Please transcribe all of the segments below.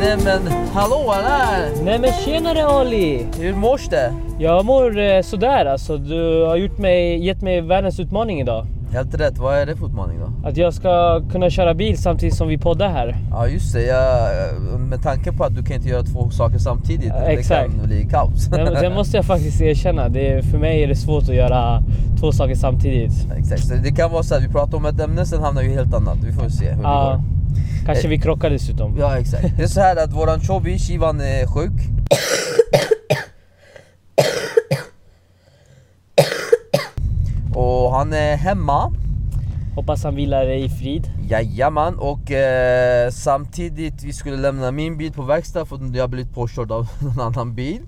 men hallå där! Nej men tjenare Ali! Hur mår det? Jag mår eh, sådär alltså. Du har gjort mig, gett mig världens utmaning idag. Helt rätt, vad är det för utmaning då? Att jag ska kunna köra bil samtidigt som vi poddar här. Ja just det, jag, med tanke på att du kan inte göra två saker samtidigt. Ja, det exakt. kan bli kaos. Nej, men Det måste jag faktiskt erkänna. Det, är- för mig är det svårt att göra två saker samtidigt. Exakt, så det kan vara så att vi pratar om ett ämne sen hamnar vi i helt annat. Vi får se hur det Ja, går. Eh. kanske vi krockar dessutom. Ja exakt. Det är så här att våran chobby, Shivan, är sjuk. Och han är hemma. Hoppas han vilar i frid. Jajamän, och eh, samtidigt vi skulle lämna min bil på verkstad för att jag blivit påkörd av någon annan bil.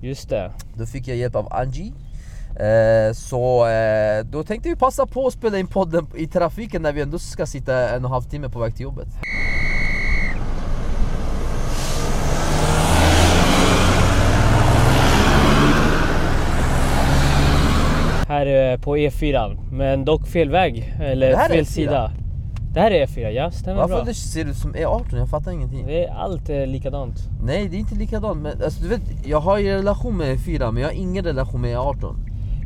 Just det. Då fick jag hjälp av Angie. Eh, så eh, då tänkte vi passa på att spela in podden i trafiken när vi ändå ska sitta en och en halv timme på väg till jobbet. Här eh, på E4. Men dock fel väg. Det här Eller är E4. fel sida. Det här är E4, ja. Stämmer Varför bra. det ser ut som E18? Jag fattar ingenting. Det är allt är likadant. Nej, det är inte likadant. Men, alltså, du vet, jag har ju relation med E4 men jag har ingen relation med E18.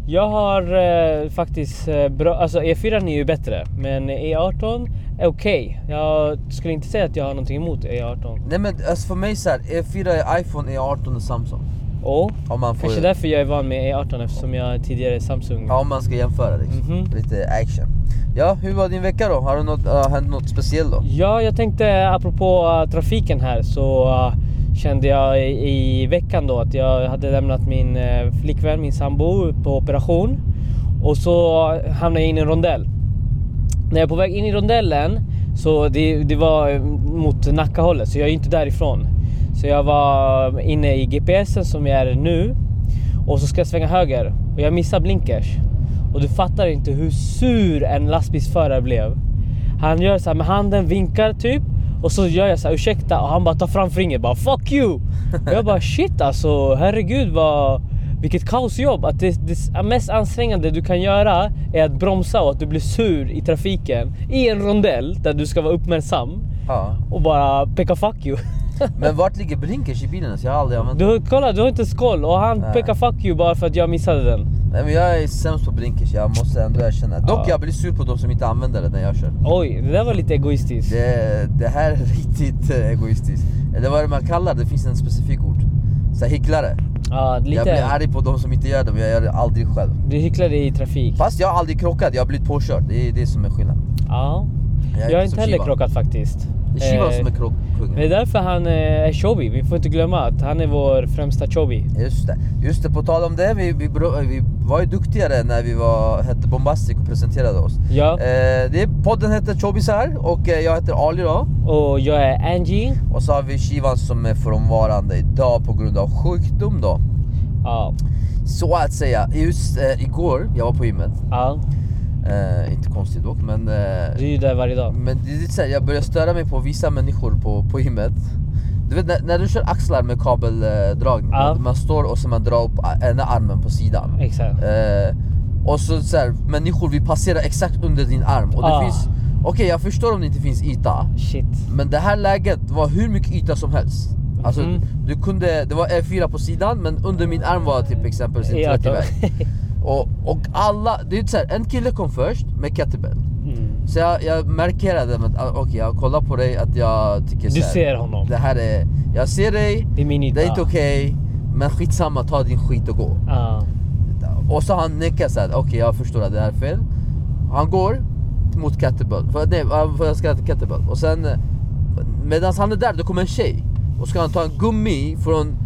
Jag har eh, faktiskt eh, bra, alltså E4 är ju bättre men E18 är okej. Jag skulle inte säga att jag har någonting emot E E18. Nej men alltså, för mig så här, E4 är iPhone, E18 är Samsung. Och Om man, får, kanske därför jag är van med E18 eftersom jag tidigare är Samsung. ja, om man ska jämföra liksom. Mhm. Lite action. Ja, hur var din vecka då? Har det något, har hänt något speciellt då? Ja, jag tänkte apropå eh, trafiken här så eh, kände jag i, i veckan då att jag hade lämnat min eh, flickvän, min sambo, på operation. Och så eh, hamnade jag in i en rondell. När jag är på väg in i rondellen så det, det var eh, mot Nackahållet så jag är inte därifrån. Så jag var eh, inne i GPSen som jag är nu och så ska jag svänga höger och jag missar blinkers. Och du fattar inte hur sur en lastbilsförare blev. Han gör så här med handen, vinkar typ och så gör jag så här ursäkta och han bara tar fram fingret bara fuck you. Och jag bara shit alltså herregud vad vilket kaosjobb! Att det, det mest ansträngande du kan göra är att bromsa och att du blir sur i trafiken i en rondell där du ska vara uppmärksam Ja. och bara peka fuck you. Men vart ligger blinkers i bilen? Så jag har aldrig använt Du, har- kolla, du har inte ens koll och han Nej. pekar fuck you bara för att jag missade den. Nej, men jag är sämst på blinkers, jag måste ändå erkänna. Dock jag blir sur på de som inte använder det när jag kör. Oj, det där var lite egoistiskt. Det, det här är riktigt eh, egoistiskt. Eller vad är det man kallar det? Det finns en specifik ord. Så här, hycklare. Ja, Jag blir lite. arg på de som inte gör det, men jag gör det aldrig själv. Du hycklade i trafik. Fast jag har aldrig krockat, jag har blivit påkörd. Det är det som är skillnaden. Ja. Jag har som inte heller Shivan. krockat faktiskt. Det är Shivan Eh, som är krock, kungen. det är därför han eh, är chobby. Vi får inte glömma att han är vår främsta chobby. Just det. Just det, på tal om det, vi, vi, bro- vi var ju duktigare när vi var, hette Bombastic och presenterade oss. Ja. Eh, det, podden heter Chobisar och eh, jag heter Ali då. Och jag är Angie. Och så har vi Shivan som är frånvarande idag på grund av sjukdom då. Ja. Så att säga, just eh, igår, jag var på gymmet. ja. Eh, inte konstigt dock, men... Eh, Du är ju där varje dag. men det är lite så här, jag börjar störa mig på vissa människor på, på gymmet. Du vet när, när du kör axlar med kabeldragning, Ja. man står och så man drar upp a- ena armen på sidan. Exakt. Eh, och så, så här, människor vill passera exakt under din arm. Och det Ah. finns... Okej, jag förstår om det inte finns yta. Shit. Men det här läget var hur mycket yta som helst. Alltså, Mhm. du kunde, det var E4 på sidan men under min arm var typ exempelvis en Ja, då. 30 väg. Och, och alla, det är ju så här, en kille kom först med kettlebell. Mm. Så jag, jag markerade med att ah, okej jag kollar på dig att jag tycker Du så här, ser honom. Det här är, jag ser dig, Det är min yta. det är inte okej. men skitsamma, ta din skit och gå. Ja. Och så han nickar såhär, okej jag förstår att det här är fel. Han går mot Kettlebell, för, nej för jag ska till Kettlebell. Och sen medan han är där då kommer en tjej. Och ska han ta en gummi från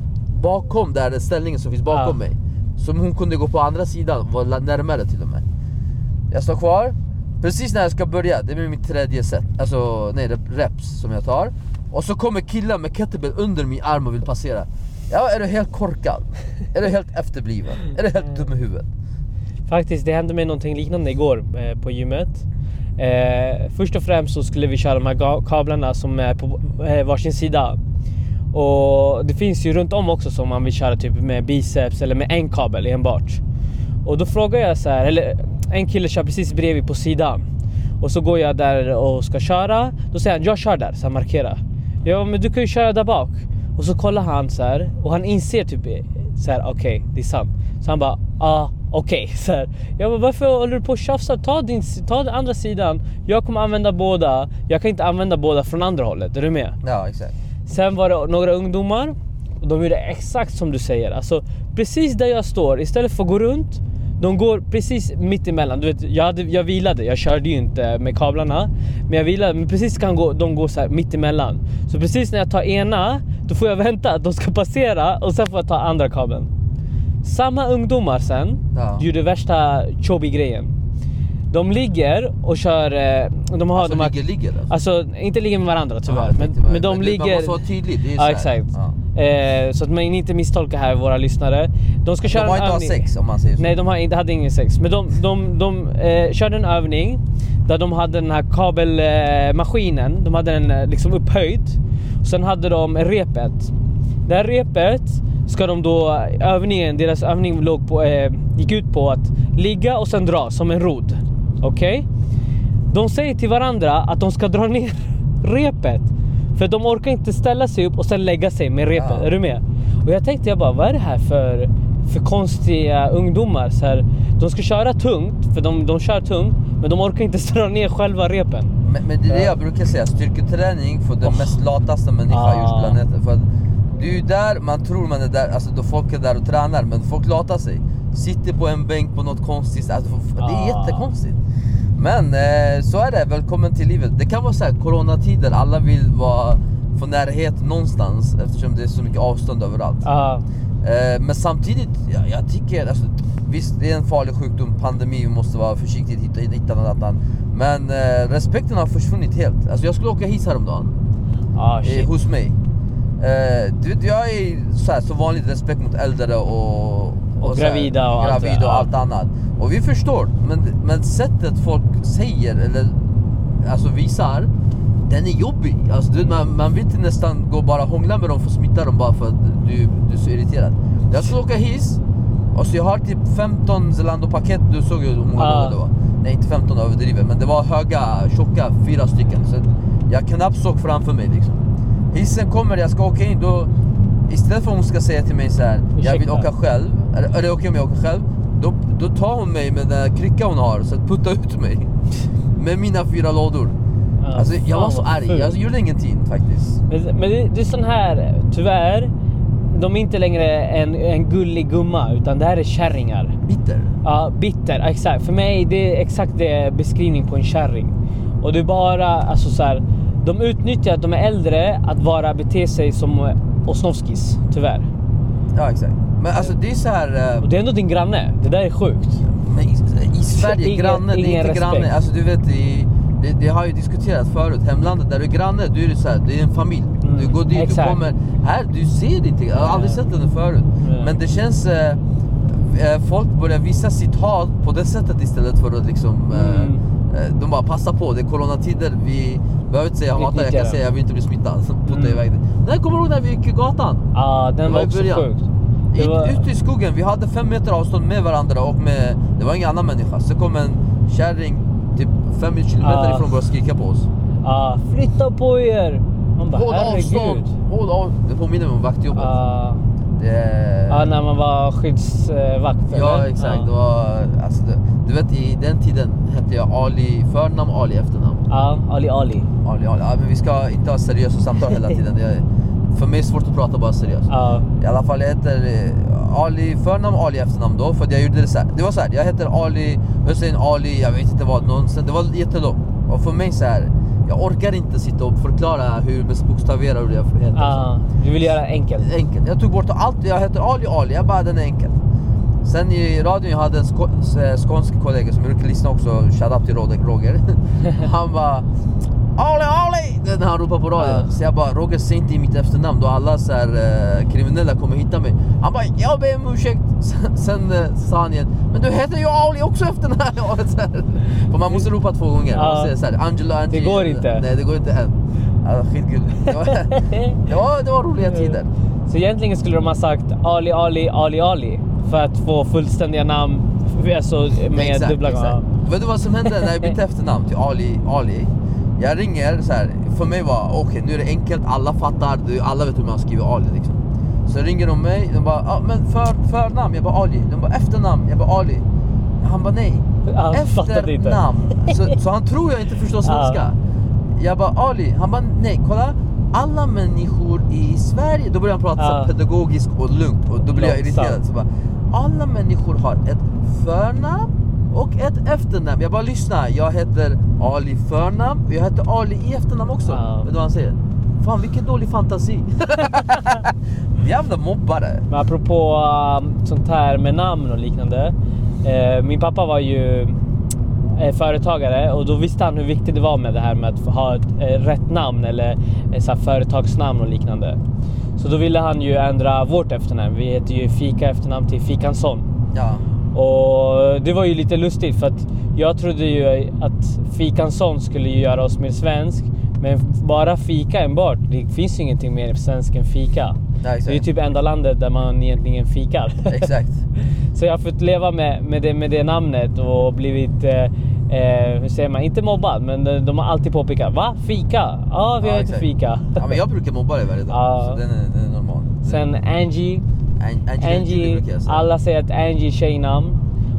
bakom där ställningen som finns bakom Ja. mig. Som hon kunde gå på andra sidan, var la- närmare till och med. Jag står kvar, precis när jag ska börja, det blir mitt tredje set, alltså nej rep- reps som jag tar. Och så kommer killar med kettlebell under min arm och vill passera. Ja, är du helt korkad? Är du helt efterbliven? Är du Mm. helt dum i huvudet? Faktiskt, det hände mig någonting liknande igår eh, på gymmet. Eh, först och främst så skulle vi köra de här ga- kablarna som är på eh, varsin sida. Och det finns ju runt om också som man vill köra typ med biceps eller med en kabel enbart. Och då frågar jag så här, eller en kille kör precis bredvid på sidan. Och så går jag där och ska köra. Då säger han jag kör där, så han markerar. Ja men du kan ju köra där bak. Och så kollar han så här och han inser typ så här okej det är sant. Så han bara ah okej. så här. Jag bara varför håller du på och tjafsar? Ta, din, ta den andra sidan. Jag kommer använda båda. Jag kan inte använda båda från andra hållet. Är du med? Ja, exakt. Sen var det några ungdomar och de gjorde exakt som du säger. Alltså precis där jag står, istället för att gå runt, de går precis mitt emellan. Du vet, jag, hade, jag vilade, jag körde ju inte med kablarna. Men jag vilade, men precis kan gå, de gå så här mitt emellan. Så precis när jag tar ena, då får jag vänta att de ska passera och sen får jag ta andra kabeln. Samma ungdomar sen Ja. gjorde värsta chobby grejen. De ligger och kör, eh, de har Alltså, de här, ligger, ligger det? alltså inte ligger med varandra tyvärr, Ja, typ, jag tänkte bara- men, men de det- ligger... Det var så tydligt. Det är ju Ja, så här. exakt. Ja. Eh, så att man inte misstolkar här våra lyssnare. De ska De köra har en inte haft övning. sex om man säger så. Nej, de har inte, hade ingen sex. Men de, de, de eh, körde en övning där de hade den här kabelmaskinen. Eh, maskinen. de hade den eh, liksom upphöjd. Och sen hade de repet. Det här repet ska de då... eh, Övningen, deras övning låg på, eh, gick ut på att ligga och sen dra som en rodd. Okej? De säger till varandra att de ska dra ner repet. För de orkar inte ställa sig upp och sen lägga sig med repet. Ja. Är du med? Och jag tänkte jag bara, vad är det här för, för konstiga ungdomar? Så här, de ska köra tungt, för de, de kör tungt, men de orkar inte dra ner själva repen. Men, men det är det jag brukar säga, styrketräning för den Oh. mest lataste människan Ah. ah. just planeten. För att det är ju där man tror man är där, alltså då folk är där och tränar, men folk latar sig. Sitter på en bänk på något konstigt, alltså, f- det är Ah. jättekonstigt. Men eh, så är det, välkommen till livet. Det kan vara så här, coronatider, alla vill vara, få närhet någonstans eftersom det är så mycket avstånd överallt. Ja, Eh, Men samtidigt, jag, jag tycker... Alltså, visst, det är en farlig sjukdom, pandemi, vi måste vara försiktiga hitta, hitta något annat. Men eh, respekten har försvunnit helt. Alltså, jag skulle åka hiss häromdagen, ah, eh, shit. hos mig. Eh, du, vet, jag är så, här, så vanligt respekt mot äldre och... Och så här, gravida och allt det- gravida och ja. allt annat. Och vi förstår, men, men sättet folk säger eller alltså visar, den är jobbig. Alltså, du, vet, man, man vill inte nästan gå och bara hångla med dem för att smitta dem bara för att du, du är så irriterad. Jag skulle åka hiss och så jag har typ 15 Zalando-paket, du såg ju hur många Ja. gånger det var. Nej inte 15 överdrivet, men det var höga, tjocka, fyra stycken. Så att jag knappt såg framför mig liksom. Hissen kommer, jag ska åka in, då istället för att hon ska säga till mig så här, jag vill Ursäkta. åka själv, eller, eller okej om jag åker själv, då, då tar hon mig med den här kryckan hon har, så att putta ut mig. Med mina fyra lådor. Ja, Alltså jag fan var så vad arg, fult. jag gjorde ingenting faktiskt. Men, men det, det är sån här, tyvärr, de är inte längre en, en gullig gumma, utan det här är kärringar. Bitter. Ja, bitter. Exakt. För mig det är exakt det beskrivning på en kärring. Och det är bara alltså så här, de utnyttjar att de är äldre att vara bete sig som eh, osnovskis, tyvärr. Ja exakt. Men alltså det är så här... eh, Och det är ändå din granne. Det där är sjukt. Men i, i Sverige, Ingen- granne, det ingen är inte respekt. granne. Alltså du vet, i, det, det har ju diskuterats förut. Hemlandet, där du är granne, då är det så här, det är en familj. Mm, Du går dit, exakt. du kommer. Här, du ser inte. Jag har aldrig Nej. sett den förut. Nej. Men det känns... Eh, eh, folk börjar visa sitt hat på det sättet istället för att liksom... Eh, Mm. eh, de bara passa på, det är coronatider. Vi behöver inte säga jag hatar, jag Utnyttja kan det. säga jag vill inte bli smittad. Putta Mm. iväg det. Nej, kommer du ihåg när vi gick i gatan? Ja, den Det var var i också början. sjukt. Det Ut, var, Ute i skogen, vi hade fem meter avstånd med varandra och med, det var ingen annan människa. Så kom en kärring typ fem kilometer Ah. ifrån och började skrika på oss. ja, flytta på er! Man bara, Håll avstånd! herregud. Ah. Håll av... Det påminner mig om vaktjobbet. Ja, Det... ja, när man var skyddsvakt. ja Ah, eller? Ah. exakt. Ja. Det var, alltså, det, du vet i den tiden hette jag Ali förnamn, Ali efternamn. Ja, Ali Ali. Ali, Ali. Ja, men vi ska inte ha seriösa samtal hela tiden. Det är, för mig är det svårt att prata bara seriöst. Ja, I alla fall, jag heter eh, Ali förnamn Ali efternamn då, för att jag gjorde det så här. Det var så här, jag heter Ali, Hussein Ali, jag vet inte vad, nonsens. Det var jättelångt. Och för mig så här, jag orkar inte sitta och förklara hur man bokstaverar hur jag heter. ja. Du vill göra enkelt. Enkelt. Jag tog bort allt, jag heter Ali Ali, jag bara den är enkel. Sen i radion, jag hade en sko- s- eh, skånsk kollega som brukar lyssna också, shoutout till Roger- Roger. Han bara Ali Ali! Det är När han ropar på radion. Ja. Så jag bara Roger säg inte mitt efternamn då alla så här, eh, kriminella kommer hitta mig. Han bara jag ber om ursäkt. Sen, sen eh, sa han igen men du heter ju Ali också efternamn. Och så här. För man måste ropa två gånger. Ja. Man säger så här, Angela, Angie. går inte. Nej det går inte än. Alltså, skitgulligt. Det var, det, var, det var roliga tider. Så egentligen skulle de ha sagt Ali Ali Ali Ali för att få fullständiga namn alltså med Exakt, dubbla exakt. gånger. Vet du vad som hände när jag bytte efternamn till Ali? Ali? Jag ringer så här. för mig var okej nu är det enkelt, alla fattar, du, alla vet hur man skriver Ali liksom. Så ringer de mig, de bara ah, men för, förnamn, jag bara Ali. De bara efternamn, jag bara Ali. Han bara nej. Han fattade inte. efternamn. Så, så han tror jag inte förstår svenska. Jag bara Ali, han bara nej kolla. Alla människor i Sverige, då börjar han prata så här Ja. pedagogiskt och lugnt och då blir jag Långsamt. irriterad. Så bara, alla människor har ett förnamn och ett efternamn. Jag bara lyssna, jag heter Ali förnamn och jag heter Ali i efternamn också. Ja. Vet du vad han säger? Fan vilken dålig fantasi. Jävla mobbare. Men apropå um, sånt här med namn och liknande. Eh, min pappa var ju eh, företagare och då visste han hur viktigt det var med det här med att få ha ett eh, rätt namn eller eh, så här, företagsnamn och liknande. Så då ville han ju ändra vårt efternamn. Vi heter ju Fika efternamn till Fikansson. Ja. Och det var ju lite lustigt för att jag trodde ju att fikansson skulle ju göra oss mer svensk. Men bara fika enbart, det finns ju ingenting mer svensk än fika. Ja, exakt. Det är ju typ enda landet där man egentligen fikar. Exakt. Så jag har fått leva med, med, det, med det namnet och blivit, eh, eh, hur säger man, inte mobbad men de, de har alltid påpekat. Va? Fika? Ja, vi Ja, har inte exakt. fika. Ja, men jag brukar mobba dig varje dag. Ja. Så den är, den är normal. Sen Angie, An- Angelina Jolie Angie, brukar jag säga. alla säger att Angie är tjejnamn.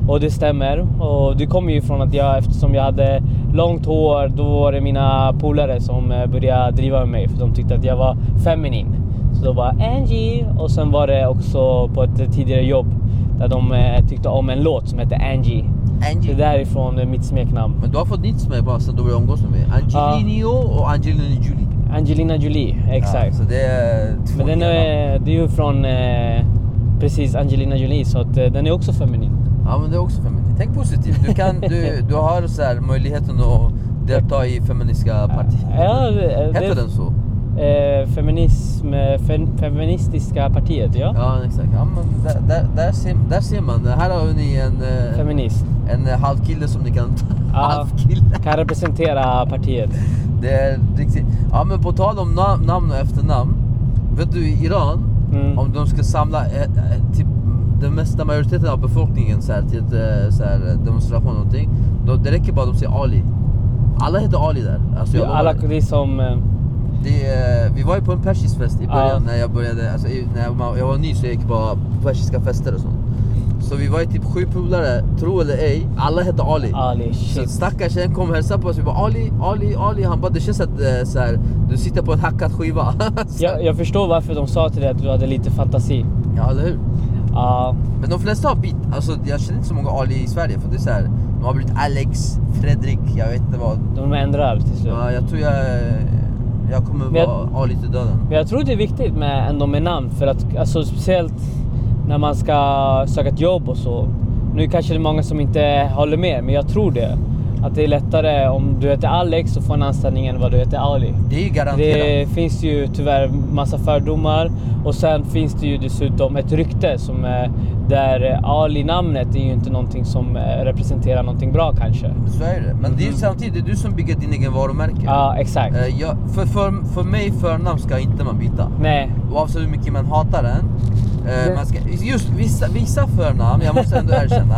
Och det stämmer. Och det kommer ju från att jag, eftersom jag hade långt hår, då var det mina polare som eh, började driva med mig. För de tyckte att jag var feminin. Så då var Angie. Och sen var det också på ett tidigare jobb där de eh, tyckte om en låt som hette Angie. Så Angie. det är ifrån eh, mitt smeknamn. Men du har fått nytt som är bra sen du började umgås med mig. Angelino och Angelina Jolie. Angelina Jolie, exakt. Ja, så det är två Men den delar. är, det är ju från eh, precis Angelina Jolie, så att, eh, den är också feminin. Ja men det är också feminint. Tänk positivt. Du, kan, du, du har så här möjligheten att delta i feministiska partier. Ja, det- det- Heter den så? Eh, feminism, eh, fe, feministiska partiet, ja. Ja exakt. Ja, men där, där, där, ser, där ser man. Här har ni en, eh, Feminist. en eh, halvkille som ni kan ta. Ja. Halvkille. Kan representera partiet. Det är riktigt. Ja men på tal om na- namn och efternamn. Vet du i Iran, Mm. om de ska samla eh, eh, typ den mesta majoriteten av befolkningen så här, till ett eh, så här, demonstration eller någonting. Då, det räcker bara att de säger Ali. Alla heter Ali där. Alltså, jag Ja, alla alla... det är som... eh, det, är, eh, vi var ju på en persisk fest i början Ja. när jag började. Alltså, i- när jag, var- jag var ny så jag gick bara på persiska fester och sånt. Så vi var ju typ sju polare, tro eller ej, alla hette Ali. Ali, Så shit. stackars tjejen kom och hälsade på oss. Vi bara Ali, Ali, Ali. Han bara det känns att eh, så här, du sitter på en hackad skiva. Så- Jag, jag förstår varför de sa till dig att du hade lite fantasi. ja, eller hur? Ja, Men de flesta har bytt. Alltså, jag känner inte så många Ali i Sverige för det är så här, de har blivit Alex, Fredrik, jag vet inte vad. de ändrar till slut. Ja, jag tror jag, jag kommer Men jag- vara Ali till döden. Men jag tror det är viktigt med, ändå med namn för att alltså, speciellt när man ska söka ett jobb och så. Nu kanske det är många som inte håller med men jag tror det. Att det är lättare om du heter Alex och får en anställning än vad du heter Ali. Det är ju garanterat. Det finns ju tyvärr massa fördomar och sen finns det ju dessutom ett rykte som är där eh, Ali-namnet är ju inte någonting som eh, representerar någonting bra kanske. Så är det. Men det är ju Mhm. samtidigt det är du som bygger din egen varumärke. Ja, exakt. Eh, jag, för, för, för mig förnamn ska inte man byta. Nej. oavsett hur mycket man hatar den. Eh, Det- man ska, just vissa, vissa förnamn, jag måste ändå erkänna.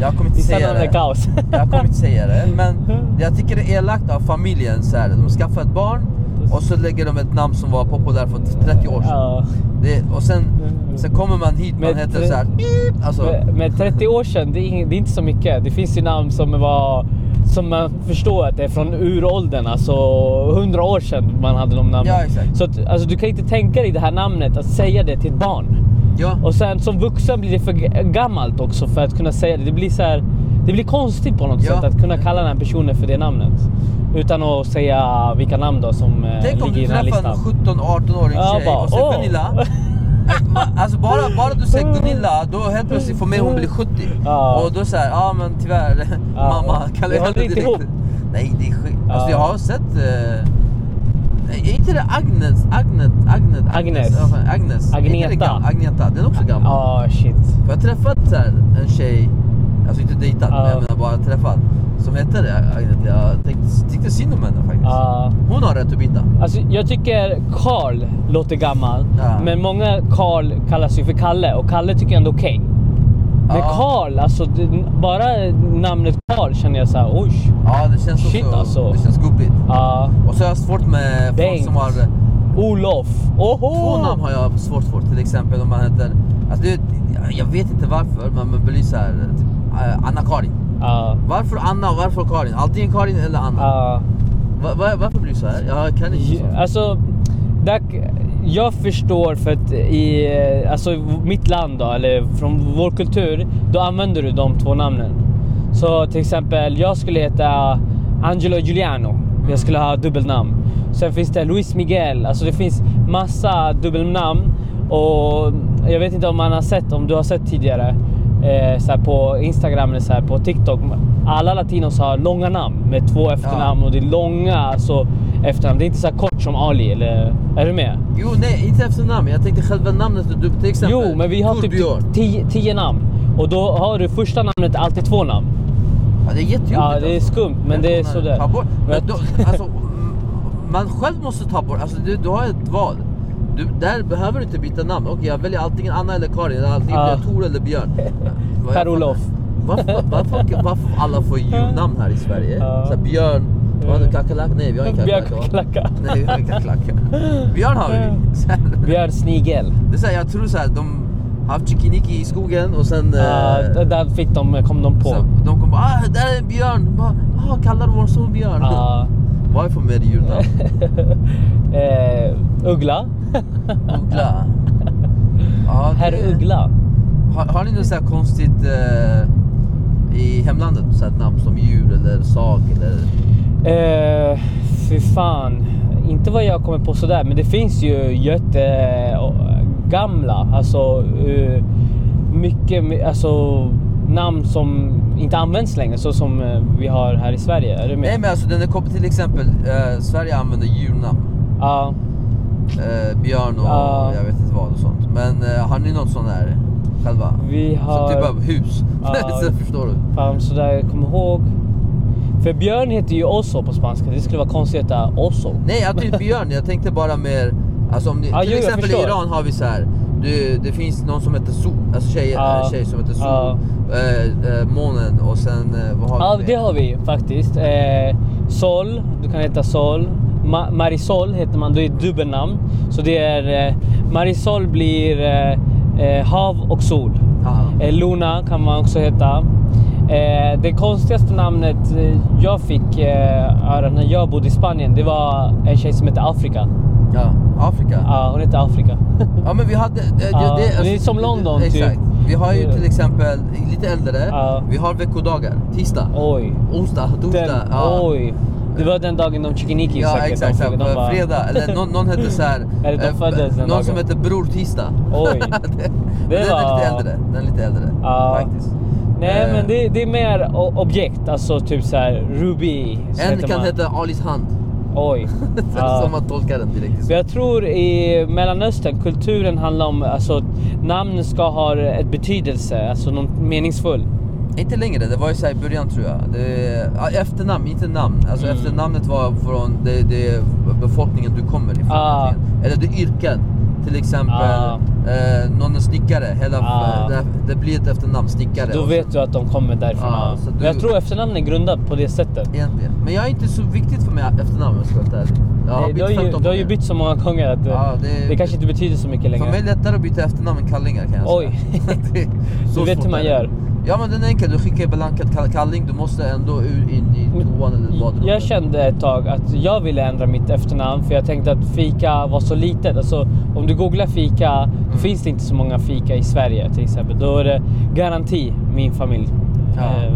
Jag kommer inte Vissa säga namn är det. kaos. Jag kommer inte säga det. Men jag tycker det är elakt av familjen. Så här, de skaffar ett barn och så lägger de ett namn som var populärt för 30 år sedan. Ja. Det, och sen, sen kommer man hit, man Men heter tre- så här. "Pip", Alltså, Men, men 30 år sedan, det är, ing- det är inte så mycket. Det finns ju namn som var som man förstår att det är från uråldern, alltså 100 år sedan man hade de namnen. Ja, exakt. Så att, alltså, du kan inte tänka dig det här namnet, att säga det till ett barn. ja. Och sen som vuxen blir det för g- gammalt också för att kunna säga det. Det blir, så här, det blir konstigt på något Ja. sätt att kunna kalla den här personen för det namnet. Utan att säga vilka namn då som eh, Tänk om ligger du i den här träffar en listan. 17-18-årig Ja, tjej bara, och säger "Åh." Gunilla. Alltså bara, bara du säger Gunilla, då helt plötsligt får med hon blir 70. Ja. Och då säger ja ah, men tyvärr Ja, mamma och kallar det jag håller henne inte direkt. ihop. Nej det är skit. Alltså Ja. jag har sett... Eh, är inte det Agnes? Agnet, Agnet, Agnes. ja, fan, Agnes. Är inte det Agneta. gam- Agneta. Den är också gammal. Ja, shit. För jag har träffat så här, en tjej, alltså inte dejtat Ja. men jag menar bara träffat. Som hette det, Agneta. Jag tänkte, tyckte synd om henne faktiskt. Ja. Hon har rätt att byta. Alltså, jag tycker Karl låter gammal, Ja. men många Karl kallas ju för Kalle och Kalle tycker jag ändå är okej. Men Ja. Karl, alltså det- bara namnet Karl känner jag så här, oj. Ja, det känns Shit, också, alltså. Det känns gubbigt. Ja. Och så har jag svårt med folk Bengt. som har... Olof. Oho! Två namn har jag svårt för. Till exempel om man heter... Alltså det, jag vet inte varför, men man blir såhär... Typ, eh, Anna-Karin. Ja. Varför Anna och varför Karin? Antingen Karin eller Anna. Ja. Va, va, varför blir det så här? Jag kan inte Ja, sånt. Alltså, där, jag förstår för att i eh, alltså, i mitt land då, eller från vår kultur, då använder du de två namnen. Så till exempel, jag skulle heta Angelo Giuliano. Mm. Jag skulle ha dubbelnamn. Sen finns det Luis Miguel. Alltså det finns massa dubbelnamn. Och jag vet inte om man har sett, om du har sett tidigare, eh, så här på Instagram eller så här på TikTok. Alla latinos har långa namn med två efternamn och det är långa alltså, efternamn. Det är inte så här kort som Ali eller... Är du med? Jo, nej, inte efter namn. Jag tänkte själva namnet. Du, till exempel Jo, men vi har typ Torbjörn. tio, tio namn. Och då har du första namnet alltid två namn. Ja, det är jättejobbigt. Ja, det är skumt, men det är Välkomna. sådär. Ta bort. Men Men jag- då, alltså, m- man själv måste ta bort. Alltså, du, du har ett val. Du, där behöver du inte byta namn. Okej, jag väljer antingen Anna eller Karin. Eller antingen Ja. blir jag Tor eller Björn. Vad jag Per-Olof. fattar. Varför, varför, varför alla får djurnamn här i Sverige? Ja. Så här, Björn... Vad har du? Kackerlack? Nej, vi har ingen Björn kackerlacka. va? Kackerlacka. Nej, vi har ingen kackerlacka. Björn har vi. Så här. Björn Snigel. Det är så här, jag tror så här, de har haft chikiniki i skogen och sen... eh, Ja, Ah, där fick de, kom de på. så de kommer bara ah, där är en björn. Bara, ah, kallar vår son björn. Ja. Vad är för mer djurnamn? eh, Uggla. Uggla. Ja, det- Herr Uggla. Har, har ni något så här konstigt eh, i hemlandet? Så här ett namn som djur eller sak eller... Eh, fy fan. Inte vad jag kommer på sådär, men det finns ju jättegamla, alltså eh, mycket my- alltså, namn som inte används längre, så som eh, vi har här i Sverige. Är Nej du med? men alltså den är kopplad till exempel, eh, Sverige använder djurnamn. Ja. Eh, björn och Ja. jag vet inte vad och sånt. Men eh, har ni något sånt där själva? Vi har- Så typ av hus. Ja. så förstår du. Fan, sådär, jag kommer ihåg. För björn heter ju oso på spanska. Det skulle vara konstigt att heta oso. Nej, jag typ björn. Jag tänkte bara mer... Alltså om ni, Ja, till jo, jag exempel i förstår. Iran har vi så här. Det, det finns någon som heter sol, alltså tjej, Ja. en tjej som heter sol, Ja. eh, eh, månen och sen eh, vad har Ja, vi? mer? det har vi faktiskt. Eh, Sol, du kan heta Sol. Ma- Marisol heter man, då är det dubbelnamn. Så det är... Eh, Marisol blir eh, eh, hav och sol. Ja. Eh, Luna kan man också heta. Eh, det konstigaste namnet eh, jag fick eh, höra när jag bodde i Spanien, det var en tjej som hette Afrika. ja, Afrika. Ja. Ja, hon hette Afrika. men vi hade... eh, Det, Ja, det är som London, typ. Exakt. Vi har ju Det- till exempel, lite äldre, Ja. vi har veckodagar. Tisdag, Oj. onsdag, torsdag. Den, ja. Oj. Det var den dagen de chikiniki Ja säkert. exakt, de exakt. fick- de bara- fredag, eller någon, någon hette såhär... Eller de föddes den någon dagen. som hette Bror Tisdag. Oj. det, Det den är var- lite äldre, den är lite äldre Ja. faktiskt. Nej, Eh, men det, det är mer o- objekt, alltså typ så här Ruby. så En heter kan man. heta Alis hand. Oj. Så Ja. Som man tolkar den direkt. Så jag tror i Mellanöstern, kulturen handlar om alltså namn ska ha ett betydelse, alltså något meningsfull. Inte längre, det var ju såhär i början tror jag. Det, ja, efternamn, inte namn. Alltså Mm. efternamnet var från det, det befolkningen du kommer ifrån. Ah. egentligen. Eller det yrken. Till exempel, Ah. eh, någon är snickare. Hela, Ah. det, det blir ett efternamn, snickare. Då och så- vet du att de kommer därifrån. Ja, ja. så Men du- Jag tror efternamn är grundat på det sättet. Egentligen. Men jag är inte så viktigt för mig efternamn om jag ska vara helt ärlig. Jag Eh, Du har, ju, 15 du har ju gånger. bytt så många gånger att Ja, eh, det- det kanske inte betyder så mycket längre. För mig är det lättare att byta efternamn än kallingar kan jag Oj. säga. Det är så Du vet svårt hur man är det. gör. Ja men den är enkel, du skickar en blankat kall- kalling, du måste ändå ur- in i toan eller badrummet. Jag kände ett tag att jag ville ändra mitt efternamn för jag tänkte att fika var så litet. Alltså, om du googlar fika, Mm. då finns det inte så många fika i Sverige till exempel. Då är det garanti, min familj. Ja. Eh,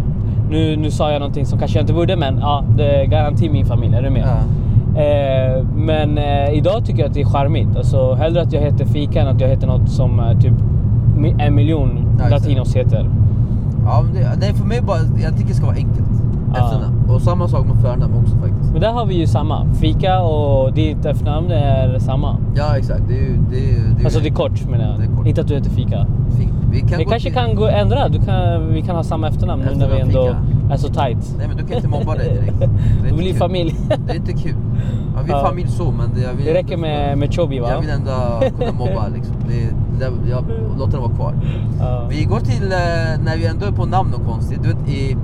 nu, nu sa jag någonting som kanske jag inte borde, men ja, det är garanti min familj. Är du med? Ja. Eh, men eh, idag tycker jag att det är charmigt. Alltså, hellre att jag heter fika än att jag heter något som eh, typ mi- en miljon Ja, just det. latinos heter. Ja, men det, nej för mig bara, jag tycker det ska vara enkelt. Ja. Efternamn. Och samma sak med förnamn också faktiskt. Men där har vi ju samma. Fika och ditt efternamn är samma. Ja exakt, det är ju... Det är, ju- det är, Alltså det är kort menar Det är jag. kort. Inte att du heter Fika. Fint. Vi kan Vi gå kanske till- kan gå och ändra. Du kan, vi kan ha samma efternamn nu när vi ändå Efternamn är så tight. Nej men du kan inte mobba dig direkt. Det är Det inte blir kul. familj. Det är inte kul. Ja, vi är Ja. familj så men det, jag vill Det räcker med, med Chobi va? Jag vill ändå kunna mobba liksom. Det, jag, jag låter den vara kvar. Ja. Vi går till, eh, när vi ändå är på namn och konstigt. Du vet, i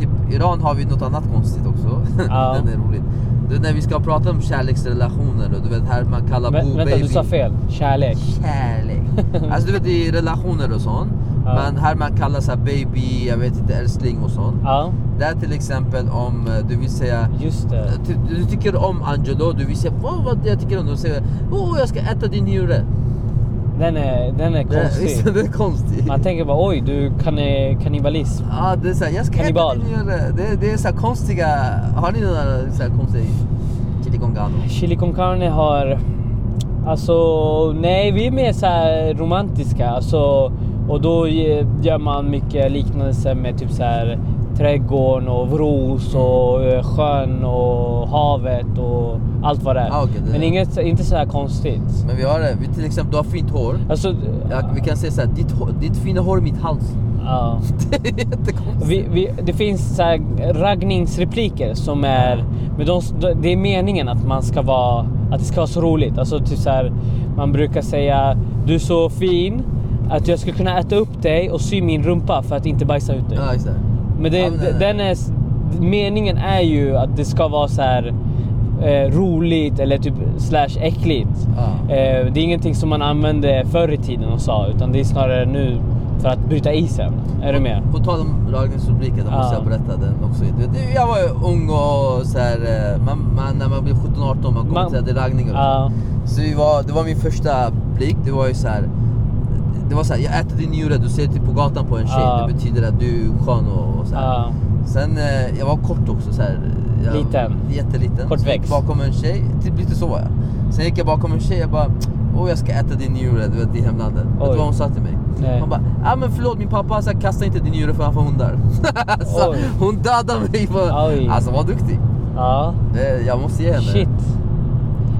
typ Iran har vi något annat konstigt också. Ja. Den är rolig. Du vet, när vi ska prata om kärleksrelationer och du vet här man kallar Vä- bo vänta, baby. du sa fel. Kärlek. Kärlek. Alltså du vet i relationer och sånt. Ja. Men här man kallar så här baby, jag vet inte, älskling och sånt. Ja, Där till exempel om eh, du vill säga just det. du, Eh, du tycker om Angelo, du vill säga "Åh, vad jag tycker om dig. Du säger åh jag ska äta din njure. Den är, den är Det- Visst är konstig. det konstigt? Man tänker bara oj, du kan kannibalism. Ja, det är såhär, jag ska Kannibal. äta din njure. Det, det är såhär konstiga, har ni några såhär konstiga chili con carne? Chili con carne har... Alltså, nej, vi är mer så här romantiska. Alltså, och då ge- gör man mycket liknelser med typ så här trädgården och Vros Mm. och eh, sjön och havet och allt vad det är. Ah, okej, det- Men inget, inte så här konstigt. Men vi har det, vi, till exempel du har fint hår. Alltså, Ja, vi kan säga såhär, ditt, hår- ditt fina hår i mitt hals. ja. Det är jättekonstigt. Vi, vi, det finns så här raggningsrepliker som är... Men de, det är meningen att man ska vara... Att det ska vara så roligt. Alltså typ så här, Man brukar säga Du är så fin att jag skulle kunna äta upp dig och sy min rumpa för att inte bajsa ut dig. Ja, exakt. Men, det, Ja, men det- den är, s- meningen är ju att det ska vara så här eh, roligt eller typ slash äckligt. Ja. Eh, det är ingenting som man använde förr i tiden och sa utan det är snarare nu för att bryta isen. Är du med? På tal om dragningsrubriken, då måste Ja. jag berätta den också. Du vet, Jag var ju ung och så här, eh, man, man, när man blir 17-18 man kommer Man- till att det är raggningar och Ja. Så vi var, det var min första blick, det var ju så här. Det var såhär, jag äter din njure, du ser typ på gatan på en tjej, Ja. det betyder att du är skön och, och så här. Ja. Sen, eh, jag var kort också så här. Jag, Liten. Jätteliten. Kortväxt. Så jag gick bakom en tjej, typ lite så var jag. Sen gick jag bakom en tjej, jag bara, åh jag ska äta din njure, du vet i hemlandet. Vet du Oj. vad hon sa till mig? Nej. Hon bara, ah, men förlåt min pappa så här, kasta inte din njure framför hundar. så Oj. hon dödade mig. På, Oj. alltså var duktig. ja. Det, jag måste ge henne. Shit.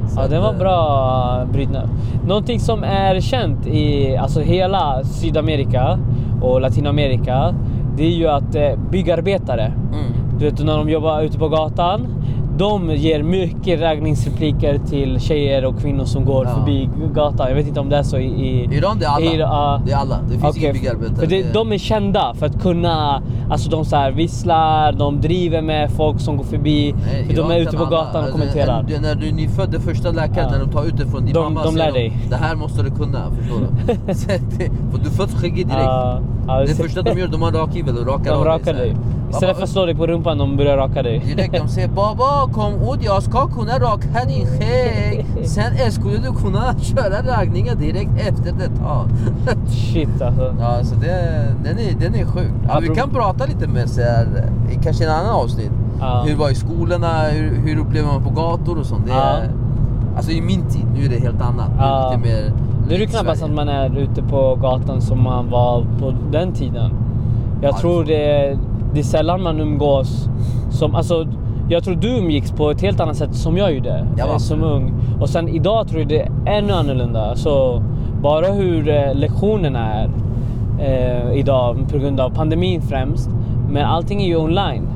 Så Ja, att, den var eh, bra brydnad. Någonting som är känt i alltså hela Sydamerika och Latinamerika, det är ju att eh, byggarbetare, Mm. du vet när de jobbar ute på gatan, de ger mycket raggningsrepliker till tjejer och kvinnor som går Ja. förbi gatan. Jag vet inte om det är så i... i I Iran det är alla. I- ja. Det är alla. Det finns Okej, inga byggarbetare. För det, de är kända för att kunna, alltså de så här visslar, de driver med folk som går förbi. Nej, för de Iran är ute kan på alla. gatan och Alltså, kommenterar. När, när du är nyfödd, det första läkaren, Ja. när de tar ut dig från din De- mamma de säger lär dig. Det här måste du kunna, förstår du? Så att det- för du föds skäggig direkt. Ja, ja, det ser- första de gör, de har en rakhyvel och rakar de av rakar så här. dig. Mamma, Istället för att slå dig på rumpan, de börjar raka dig. Direkt de säger Baba kom ut, jag ska kunna raka din skägg. Sen skulle du kunna köra raggningar direkt efter detta. Shit alltså. Ja, så det, den, är, den är sjuk. Ja, vi Apropå- kan prata lite mer så här, i kanske en annan avsnitt. Ja. Hur var i skolorna, hur, hur upplever man på gator och sånt. Det är, Ja. Alltså i min tid, nu är det helt annat. Nu är Ja. det lite mer Nu är det likt knappast Sverige. att man är ute på gatan som man var på den tiden. Jag Ja, tror det, det är sällan man umgås som... Alltså, jag tror du umgicks på ett helt annat sätt som jag gjorde Ja, eh, som absolut. ung. Och sen idag tror jag det är ännu annorlunda. Alltså, bara hur eh, lektionerna är eh, idag på grund av pandemin främst. Men allting är ju online.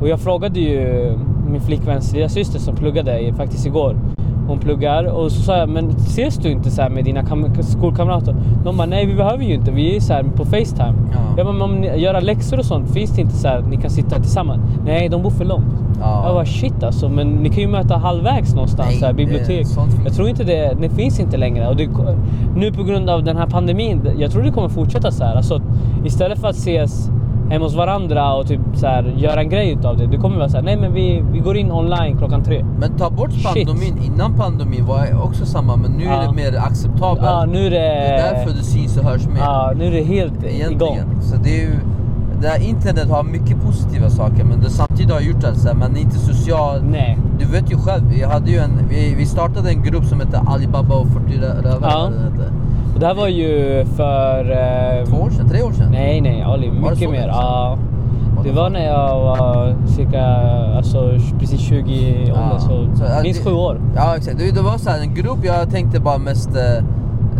Och jag frågade ju min flickväns lilla syster som pluggade i- faktiskt igår. Hon pluggar och så sa jag, men ses du inte så här med dina kam- skolkamrater? De bara, nej vi behöver ju inte, vi är så här på Facetime. Ja. Jag bara, men om ni gör läxor och sånt, finns det inte så här att ni kan sitta tillsammans? Nej, de bor för långt. Ja. Jag bara, shit alltså, men ni kan ju möta halvvägs någonstans, Nej, så här, det- bibliotek. sånt finns jag tror inte det, det finns inte längre. Och det, nu på grund av den här pandemin, jag tror det kommer fortsätta så här. Alltså, att istället för att ses hemma hos varandra och typ så här, göra en grej utav det. Det kommer vara så här, nej men vi, vi går in online klockan tre. Men ta bort Shit. pandemin, innan pandemin var jag också samma men nu är Ja. det mer acceptabelt. Ja, Ah, nu är det... Det är därför det syns och hörs mer. Ja, nu är det helt igång. Egentligen. Så det är ju, det här internet har mycket positiva saker men det samtidigt har gjort att så här, man är inte social. Nej. Du vet ju själv, vi, hade ju en, vi, vi startade en grupp som hette Alibaba och 40 rö- rövare. Ja. eller vad den hette. Och det här var ju för... eh, Två år sedan, tre år sedan. Nej, nej, Ali. det så Mycket mer. länge sedan? Ja. Vad Det fan? var när jag var cirka, alltså precis 20 i åldern, Ja. så, äh, minst det- sju år. Ja exakt, det, det var så här, en grupp jag tänkte bara mest... eh,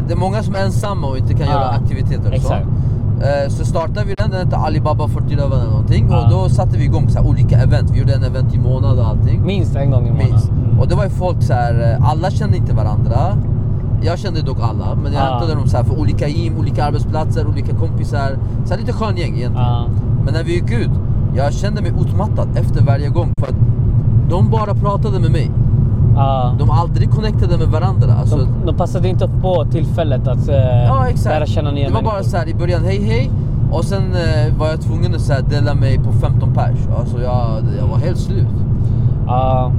Det är många som är ensamma och inte kan Ja. göra aktiviteter och Exakt. så. Eh, Så startade vi den, den hette Alibaba 40 rövare eller någonting Ja. och då satte vi igång så här, olika event. Vi gjorde en event i månad och allting. Minst en gång i månaden. Minst. Mm. Och det var ju folk så här, eh, alla kände inte varandra. Jag kände dock alla, men jag Ah. hämtade dem så här för olika gym, olika arbetsplatser, olika kompisar. Så här lite skön gäng egentligen. Ja. Men när vi gick ut, jag kände mig utmattad efter varje gång för att de bara pratade med mig. Ja. De aldrig connectade med varandra. Alltså, De, de passade inte på tillfället att eh, ja exakt. lära känna nya det var bara människor. så här i början, hej hej. Och sen eh, var jag tvungen att så här, dela mig på 15 pers. Alltså jag, jag var helt slut. Ja.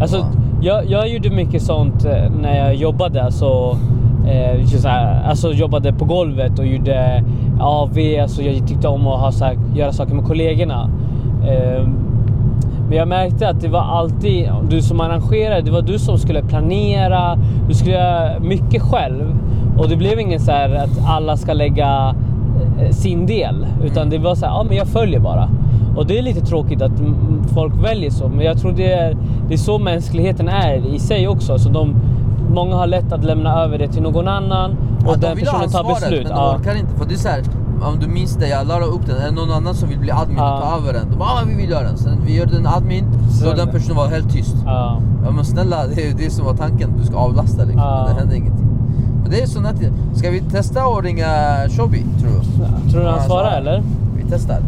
Alltså, Ja. jag, jag gjorde mycket sånt eh, när jag jobbade. Alltså, eh, just så här, alltså jobbade på golvet och gjorde AV. Alltså, jag tyckte om att ha, så här, göra saker med kollegorna. Eh, men jag märkte att det var alltid du som arrangerade. Det var du som skulle planera. Du skulle göra mycket själv. Och det blev ingen så här att alla ska lägga eh, sin del. Utan det var så här, ja men jag följer bara. Och det är lite tråkigt att mm, folk väljer så. Men jag tror det är, det är så mänskligheten är i sig också. Så de, många har lätt att lämna över det till någon annan. Och Ja, de den vill ha personen tar ansvaret, beslut. Men de Ja. orkar inte. För det är så här, om du minns det, jag la upp den. Är det någon annan som vill bli admin Ja. och ta över den? De bara, ah, vi vill göra den. Sen vi gör den admin, så Sen- den personen var helt tyst. Ja. Ja men snälla, det är ju det som var tanken. Du ska avlasta liksom. Ja. Men det händer ingenting. Men det är så natt. Ska vi testa att ringa Shobi, tror du? Tror du Ja, han svarar eller? Vi testar.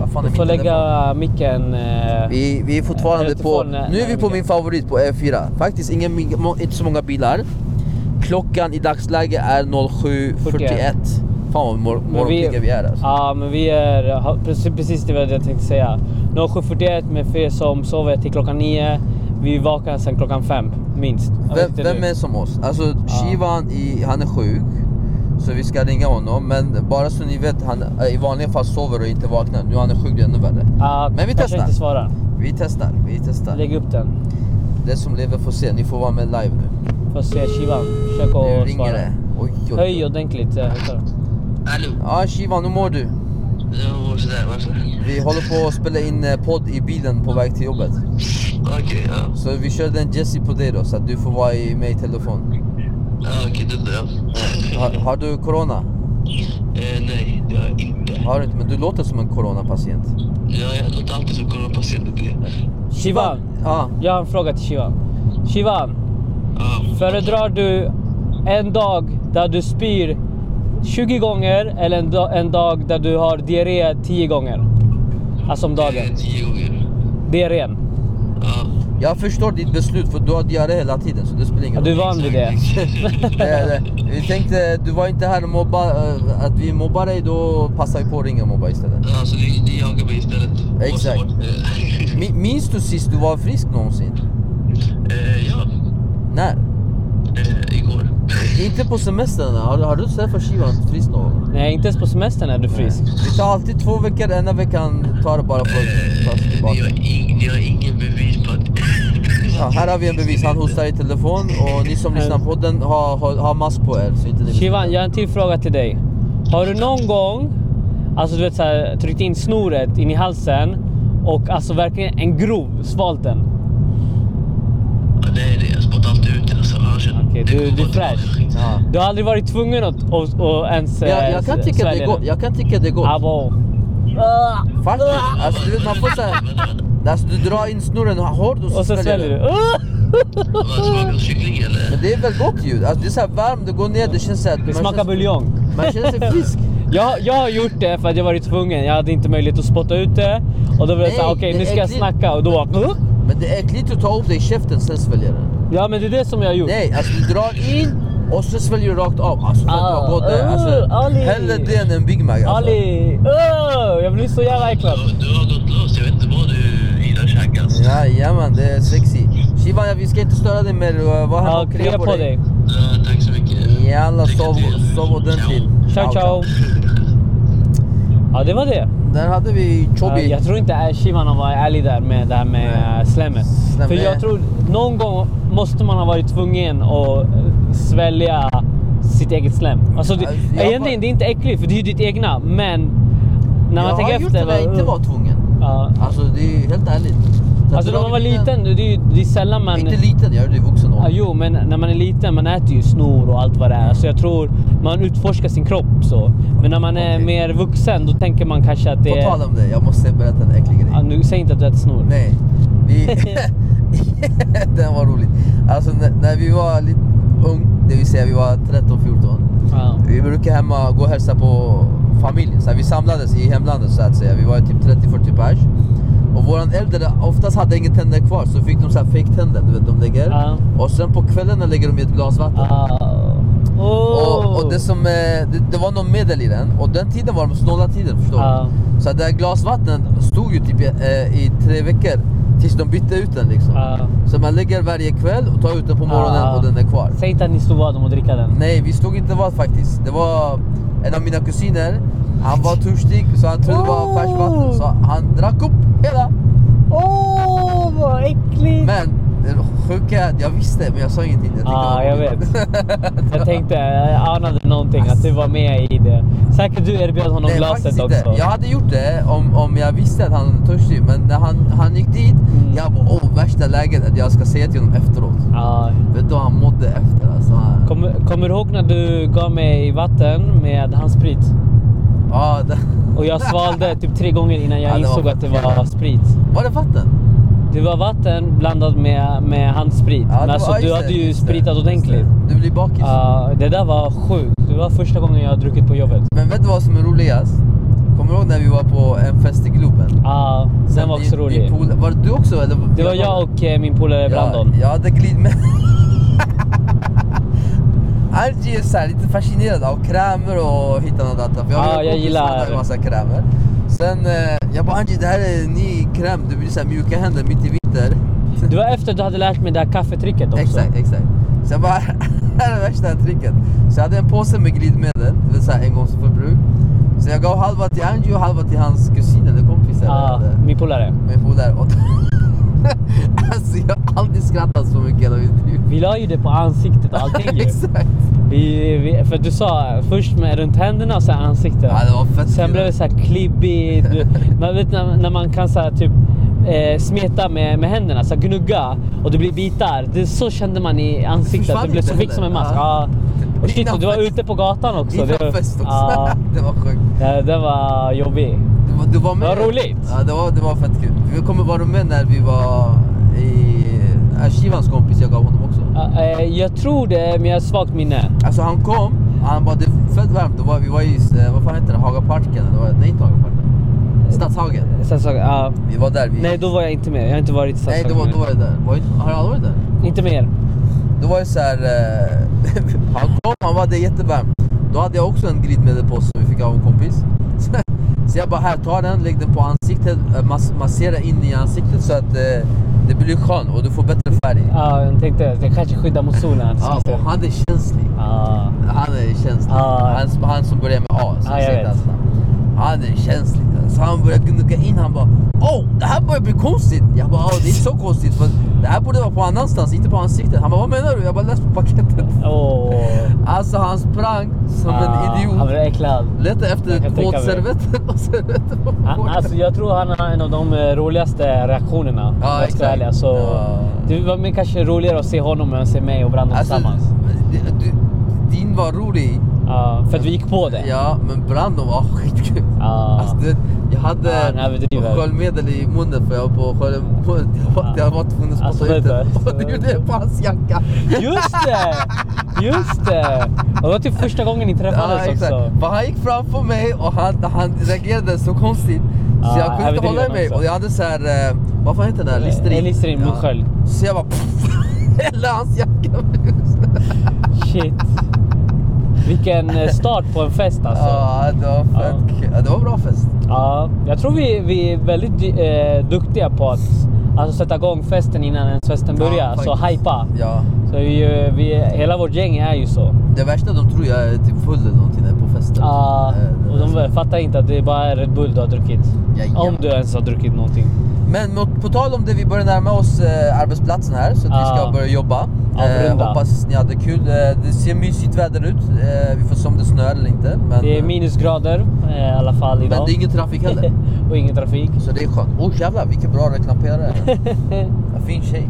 Vad fan är Du min får telefon? lägga micken... eh, Vi, vi är fortfarande Jag vet på... inte fan, Nu är nej, vi på okej. min favorit på E4. Faktiskt ingen, må- inte så många bilar. Klockan i dagsläget är 07.41. 41. Fan vad mor- Men vi- morgonpigga vi är alltså. Ja, men vi är ha- precis, precis det var det jag tänkte säga. 07.41 med för er som sover till klockan 9. Vi vaknar sen klockan 5, minst. Jag vet Vem, inte vem nu. är som oss? Alltså Ja. Shivan, i, han är sjuk. Så vi ska ringa honom. Men bara så ni vet, han eh, i vanliga fall sover och inte vaknar. Nu är han är sjuk, det är ännu värre. Ja, Men vi kanske testar. inte svarar. Vi testar, vi testar. Lägg upp den. Det som lever får se, ni får vara med live nu. Får se Shivan. Försök Nu att ringer svara. det. Oj, oj, Höj oj. ordentligt. eh, högtalaren. Allô Ja Shivan, hur mår du? Jo, sådär va? Vi håller på att spela in eh, podd i bilen på väg till jobbet. Okej, ja. Så vi kör den Jesse på dig då, så att du får vara i mig i telefon. Ja, Okej, det blir Har, har du corona? eh, Nej, det har jag inte. Har du inte, men du låter som en coronapatient. Ja, jag låter alltid som coronapatient. det. Shivan! Ja. Jag har en fråga till Shivan. Shivan, Ja, föredrar du en dag där du spyr 20 gånger eller en, da- en dag där du har diarré 10 gånger? Alltså om det dagen. är tio gånger. Diarrén. Ja. Jag förstår ditt beslut för du har diarré hela tiden så det spelar Ja, ingen du är roll. van vid det. Det är det. Vi tänkte, du var inte här och mobba, eh, att vi mobbar dig, då passar vi på att ringa och mobba istället. Ja, så ni, ni jagar mig istället. Exakt. Och så- eh, Mi- Minns du sist du var frisk någonsin? eh, ja, När? eh, igår. Inte på semestern? Har, har du träffat Shivan frisk någon gång? Nej, inte ens på semestern är du frisk. Vi tar alltid två veckor, ena veckan tar det bara för att ta sig Ni tillbaka. har, ing, ni har ingen bevis på att... Ja, här har vi en bevis, han hostar i telefon och ni som lyssnar på podden har, har, har mask på er så inte ni Shivan, jag har en till fråga till dig. Har du någon gång alltså du vet, så här, tryckt in snoret in i halsen och alltså verkligen en grov svalt den? Ja, nej, nej, jag spottar alltid ut den. Alltså, annars- Okej, det du- kommer du är bara fräsch. tillbaka. Ja. Du har aldrig varit tvungen att att- att ens eh, Men Jag, jag kan tycka det är gott, jag kan tycka det är gott. Abo. Faktiskt. Alltså du vet man får såhär... Alltså du drar in snurren hårt och så, Och så sväljer du. Ah! Vad, Smakar det kyckling eller? Men det är väl gott ljud? Alltså det är såhär varmt, det går ner, det känns såhär... Det man smakar känns- buljong. Man känner sig frisk. Jag, jag har gjort det för att jag varit tvungen. Jag hade inte möjlighet att spotta ut det. Och då var det såhär, Nej, okej det nu är ska jag äckligt. snacka och då bara... Men det är äckligt att ta upp det i käften sen sväljer den. Ja men det är det som jag har gjort. Nej, alltså du drar in och så sväljer du rakt av. Alltså vet du Ah, vad gott det är? Alltså, uh, Ali. hellre det än en Big Mac alltså. Ali! Öh, jag blir så jävla äcklad. Du, du har gått loss. Jag vet inte vad du gillar att käka. alltså. Jajamän, det är sexy. Shivan, vi ska inte störa dig mer. Vad Ja, har krya på dig. Ja, tack så mycket. Jalla, Lycka sov, till. sov ordentligt. Ciao ciao. Ja det var det. Där hade vi Ja, Chobi. Jag tror inte eh, Shivan har varit ärlig där med det här med Nej. eh, slemmet. Slem För är- jag tror någon gång måste man ha varit tvungen att eh, svälja sitt eget slem. Alltså det, Alltså, jag egentligen var- det är inte äckligt för det är ju ditt egna men när man jag tänker har gjort det efter. när jag bara, inte uh, var tvungen. ja. Alltså det är ju helt ärligt. Så Alltså att när man var dragit in liten, en- det är ju det är sällan man... Inte liten, jag gjorde det i vuxen Ja, ålder. jo, men när man är liten man äter ju snor och allt vad det är. Så jag tror man utforskar sin kropp så. Men när man är Okej. mer vuxen då tänker man kanske att det På är... tal om det, jag måste berätta en äcklig grej. Ja, nu, säg inte att du äter snor. Nej, vi... Den var rolig. Alltså när, när vi var lite ung, det vill säga vi var 13-14. Ja. Vi brukade hemma gå och hälsa på familjen. Så här, vi samlades i hemlandet så att säga. Vi var ju typ 30-40 pers. Och våran äldre oftast hade inga tänder kvar så fick de så här fake tänder du vet de lägger. Ja. Och sen på kvällarna lägger de i ett glas vatten. Ah. Och, Oh. och det, som, eh, det, det var någon medel i den och den tiden var de snåla tiden förstår du. Ja. Så att det här glasvattnet stod ju typ i, eh, i tre veckor tills de bytte ut den liksom. Ja. Så man lägger varje kväll och tar ut den på morgonen Ja. och den är kvar. Säg inte att ni stod vad om att dricka den. Nej, vi stod inte vad faktiskt. Det var en av mina kusiner. Han var törstig så han trodde det Oh. var färskvatten så han drack upp hela. Åh, oh, vad äckligt! Men det sjuka är att jag visste men jag sa ingenting. Jag tyckte det var Ja, Ah, jag roligt. vet. Jag tänkte, jag anade någonting att du var med i det. Säkert du erbjöd honom Nej, glaset faktiskt också. inte. Jag hade gjort det om, om jag visste att han var törstig men när han, han gick dit, Mm. jag bara åh värsta läget att jag ska säga till honom efteråt. Ja. Vet du han mådde efter alltså. Han- Ah. Kommer, kommer du ihåg när du gav mig vatten med handsprit? Ja, det, Och jag svalde typ tre gånger innan jag Ja, det var insåg att det faktiskt- var sprit. var det vatten? Det var vatten blandat med, med handsprit. Ja, Men det alltså, var- ja, du just hade det, ju just det, spritat just det. ordentligt. Du blir bakis. Ja, Ah, det där var sjukt. Det var första gången jag har druckit på jobbet. Men vet du vad som är roligast? Kommer du ihåg när vi var på en fest i Globen? Ja, Ah, den var också Din- din rolig. pool- var det du också eller? Det var jag och eh, min polare Brandon. Ja, jag hade glid med. Arji är så här lite fascinerad av krämer och hittan och datan. För jag Ja, har en jag kompis gillar- som hade en massa krämer. Sen, eh, jag bara Arji det här är en ny kräm, du blir så här mjuka händer mitt i vinter. Det var efter du hade lärt mig det här kaffetricket också. Exakt, exakt. Så jag bara, det här är värsta tricket. Så jag hade en påse med glidmedel, det vill säga engångsförbruk. Så jag gav halva till Angie och halva till hans kusin eller kompis eller Ja, eller Ah, min polare. min polare. Och- Alltså jag har aldrig skrattat så mycket hela mitt liv. Vi la ju det på ansiktet och allting ju. Exakt. Vi, vi, för du sa eh, först med runt händerna och sen ansiktet. Ja, det var fett Sen kul. blev det så här klibbigt. Du- Man vet när, när man kan så här typ eh, smeta med, med händerna, så här gnugga och det blir bitar. Det, så kände man i ansiktet. försvann Det blev inte så fick som en heller. mask. Ja. Ja. Och shit, Innan och du var fest. ute på gatan också. Innan Det- fest också. Ja, Det var sjukt. det, det var jobbigt. Du, var- du var med. Vad roligt. Ja, det var, det var fett kul. Vi kommer vara med när vi var i... Ja, Shivans kompis, jag gav honom också. Ja, eh, jag tror det, men jag har svagt minne. Alltså han kom, han bara det är fett varmt. Det var, vi var i, eh, vad fan heter det, Hagaparken? eller vad- Nej inte Hagaparken. Stadshagen. Sen så, ja. Vi var där. Vi... Nej, då var jag inte med. Jag har inte varit i Nej, då, Stadshagen. var, då var jag där. Var, inte- har du aldrig varit där? Inte mer. Då var det så här, eh, han kom, han var det är jättevarmt. Då hade jag också en glidmedelpåse som vi fick av en kompis. Så jag bara, här ta den, lägg den på ansiktet, eh, mass- massera in i ansiktet så att eh, det blir skönt och du får bättre färg. Ja, jag tänkte det kanske skyddar mot solen. att det Ja, ska- och han är känslig. Ja. Han är känslig. Ja. Han, som- han som börjar med A. Så Ja, vi jag säger vet. hans namn. Han är känslig. Så han börjar gnugga in. Han bara Åh, det här börjar bli konstigt. Jag bara, "Ja, det är inte så konstigt. För det här borde vara på annanstans, inte på ansiktet. Han bara, vad menar du? Jag bara, läs på paketet. Åh. Alltså han sprang som Ja, en Ah, Han idiot. blev äcklad. Letade Jag kan efter tänka mig. kåtservetter och servetter på Han, bordet. alltså, jag tror han har en av de eh, roligaste reaktionerna. om jag ska exakt. vara ärlig. Så, Ja. Det var mer kanske roligare att se honom än att se mig och Brandon Alltså, tillsammans. d- du, din var rolig. Ja, för att vi gick på det. Ja, men Brandon var skitkul. Ja. Alltså, du vet, jag Ja, han hade överdriver. sköljmedel i munnen för jag var på skölj... Jag var, jag var tvungen att spotta Ah. Alltså, ut det. vänta. Och det gjorde jag på hans jacka. Just det! Just det! Och det var typ första gången ni träffades också. För han gick framför mig och han, han reagerade så konstigt. Så Ja, jag kunde inte överdriver hålla mig. också. Och jag hade så här, eh, vad fan heter den här? Listerin. Eh, Listerin, munskölj. Så jag bara pff, hällde hans jacka Shit. Vilken eh, start på en fest alltså. Ja, det var fett Ja. kul. Ja, det var bra fest. Ja, jag tror vi, vi är väldigt dy- eh, duktiga på att alltså, sätta igång festen innan ens festen Ja, börjar. så faktiskt. hypa. Ja. Så vi, eh, vi, hela vårt gäng är ju så. Det värsta de tror jag är typ full eller någonting när jag är på festen. Ja, Eh, det Ah, och värsta. de fattar inte att det är bara är Red Bull du har druckit. Om Jajamän. du ens har druckit någonting. Men mot, på tal om det, vi börjar närma oss eh, arbetsplatsen här så att vi ska Ja. börja jobba. Eh, Avrunda. hoppas ni hade kul. Eh, det ser mysigt väder ut. Eh, vi får se om det snöar eller inte. Men, Det är eh, minusgrader eh, i alla fall idag. men det är ingen trafik heller. och ingen trafik. så det är skönt. Oh jävlar vilken bra reklamperare. En fin tjej.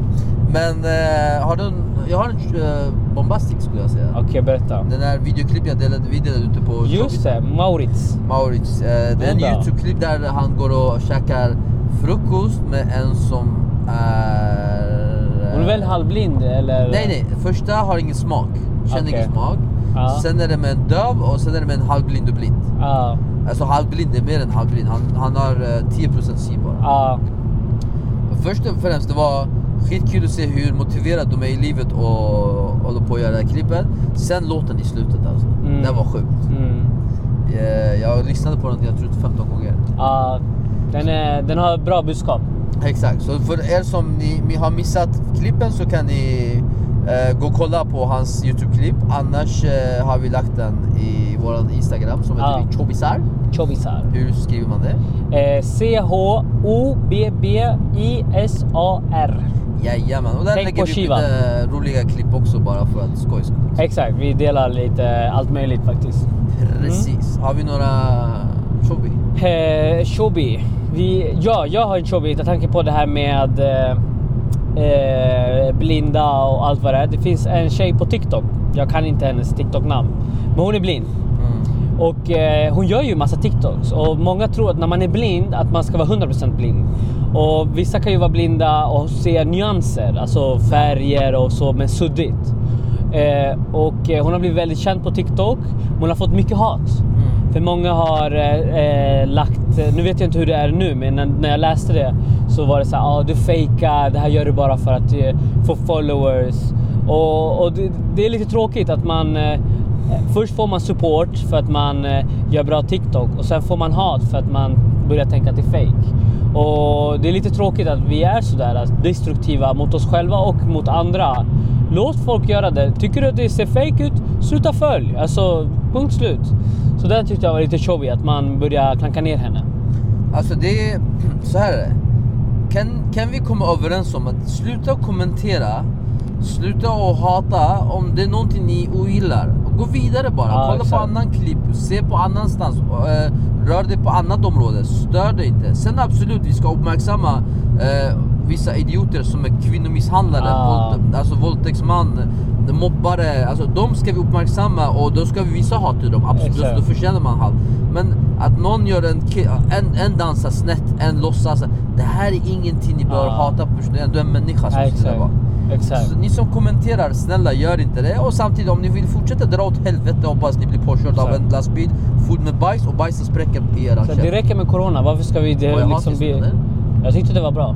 Men eh, har du en, jag har en eh, bombastic skulle jag säga. Okej, berätta. Den här videoklipp jag delade, vi delade ute på Just det, Maurits. Maurits. Eh, det är en Onda. Youtube-klipp där han går och käkar frukost med en som är... Hon är väl halvblind eller? eh, Nej nej, första har ingen smak. känner Okej. ingen smak. Ja. Sen är det med en döv och sen är det med en halvblind och blind. Ja, Alltså halvblind är mer än halvblind, han, han har eh, 10% syn bara. ja, Först och främst, det var skitkul att se hur motiverade de är i livet och håller på att göra det här klippet. Sen låten i slutet alltså, Mm. den var sjukt. mm, Eh, Jag lyssnade på den, jag tror 15 gånger. ja. Den, är, den har bra budskap. Exakt, så för er som ni, ni har missat klippen så kan ni eh, gå och kolla på hans Youtube-klipp. Annars eh, har vi lagt den i våran Instagram som heter Ja. vi Chobisar. Chobisar. Hur skriver man det? Eh, C-H-O-B-B-I-S-A-R. Jajamän, och där Tänk lägger på vi upp Shiva. lite eh, roliga klipp också bara för att skojs skull. Exakt, vi delar lite allt möjligt faktiskt. Mm. Precis. Har vi några Chobi? Eh, Shobi. Vi, ja, jag har en Shobi med tanke på det här med eh, eh, blinda och allt vad det är. Det finns en tjej på TikTok. Jag kan inte hennes TikTok-namn. Men hon är blind. Och eh, hon gör ju massa TikToks och många tror att när man är blind att man ska vara 100% blind. Och vissa kan ju vara blinda och se nyanser, alltså färger och så, men suddigt. Eh, och eh, hon har blivit väldigt känd på TikTok. men Hon har fått mycket hat. För många har eh, eh, lagt, nu vet jag inte hur det är nu, men när, när jag läste det så var det så här, ah, du fejkar, det här gör du bara för att eh, få followers. Och, och det, det är lite tråkigt att man eh, Först får man support för att man eh, gör bra TikTok och sen får man hat för att man börjar tänka att det är fake. Och det är lite tråkigt att vi är sådär alltså, destruktiva mot oss själva och mot andra. Låt folk göra det. Tycker du att det ser fake ut, sluta följ. Alltså, punkt slut. Så den tyckte jag var lite showig, att man börjar klanka ner henne. Alltså det är... Så här är det. Kan, kan vi komma överens om att sluta kommentera, sluta och hata om det är någonting ni ogillar. Gå vidare bara, Ja, kolla exakt. på annan klipp, se på annanstans, eh, rör dig på annat område, stör dig inte. Sen absolut, vi ska uppmärksamma eh, vissa idioter som är kvinnomisshandlare, Ja. våld, alltså våldtäktsman, mobbare, alltså de ska vi uppmärksamma och då ska vi visa hat till dem, absolut, Exakt. då förtjänar man hat. Men att någon gör en, ki- en, en dansar snett, en låtsas, det här är ingenting ni bör Ja. hata på personen, du är en människa som sitter Alltså, där bak. Exakt. Så ni som kommenterar, snälla gör inte det. Och samtidigt om ni vill fortsätta dra åt helvete hoppas ni blir påkörda av en Exakt. lastbil full med bajs och bajset spräcker i era Så det käft. räcker med corona. Varför ska vi... Var Det, jag liksom hatisk bli- mot dig? jag tyckte det var bra.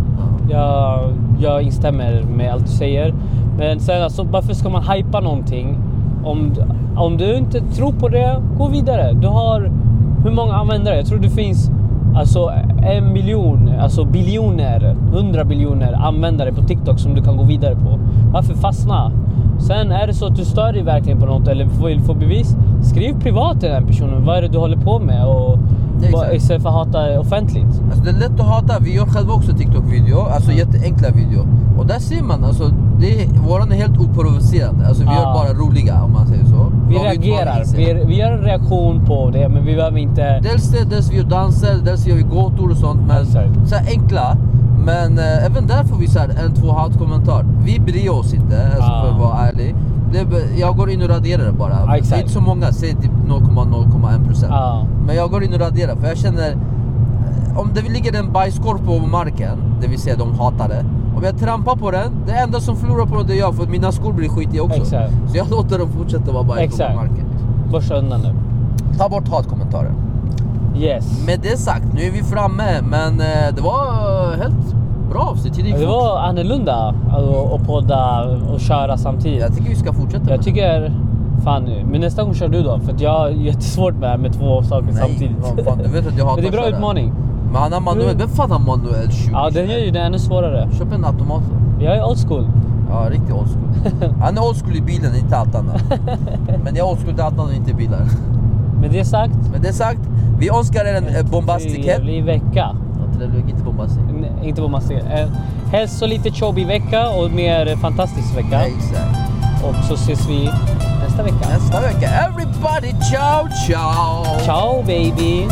Jag, jag instämmer med allt du säger. Men sen alltså, varför ska man hypa någonting? Om, du- om du inte tror på det, gå vidare. Du har hur många användare? Jag tror det finns alltså en miljon, alltså biljoner, hundra biljoner användare på TikTok som du kan gå vidare på. Varför fastna? Sen är det så att du stör dig verkligen på något eller vill få bevis, skriv privat till den personen. Vad är det du håller på med? Och, Ja, exakt. istället för att hata offentligt. Alltså det är lätt att hata, vi gör själva också TikTok-video, alltså jätteenkla video. Och där ser man, alltså det är, våran är helt oprovocerande. Alltså vi Ah. gör bara roliga om man säger så. Vi Vad vad reagerar. inser. Vi, vi gör en reaktion på det, men vi behöver inte... Dels det, dels vi gör danser, dels gör vi gåtor och sånt. Men Exakt. så här enkla. Men eh, även där får vi så här en, två hatkommentar. Vi bryr oss inte, alltså, Ah. för att vara ärlig. Det, är b- jag går in och raderar det bara. Ah, det exakt. Ah. är inte så många, säg typ 0,0,1 procent. Ja, Men jag går in och raderar för jag känner... eh, Om det ligger en bajskorv på marken, det vill säga de hatar det. Om jag trampar på den, det enda som förlorar på det är jag för mina skor blir skitiga också. Exakt. Så jag låter dem fortsätta vara bajskorv Exakt. på marken. borsta undan nu. Ta bort hatkommentarer. Yes. Med det sagt, nu är vi framme men eh, det var eh, helt bra avsnitt. Tiden gick Det fort. var annorlunda alltså, att podda och köra samtidigt. Jag tycker vi ska fortsätta med Jag tycker... Fan nu. Men nästa gång kör du då, för att jag har jättesvårt med, det här med två saker det. Nej, samtidigt. vad fan, du vet att jag hatar Men det är bra att köra. utmaning. Mm. Men han har manuell, vem fan har manuell 20? Ja, den gör ju det ännu svårare. Köp en automat då. Jag är old school. Ja, riktigt old school. Han är old school i bilen, inte allt annat. Men jag är old school till allt annat, inte i bilar. Med det sagt... Med det sagt, vi önskar er en eh, bombastic helg. Trevlig vecka. Ja, Trevlig, inte bombastic. Nej, inte vad man ser. Eh, Helst så lite chobbig vecka och mer fantastisk vecka. Exakt. Och så ses vi nästa vecka. Nästa vecka, everybody ciao ciao! Ciao baby!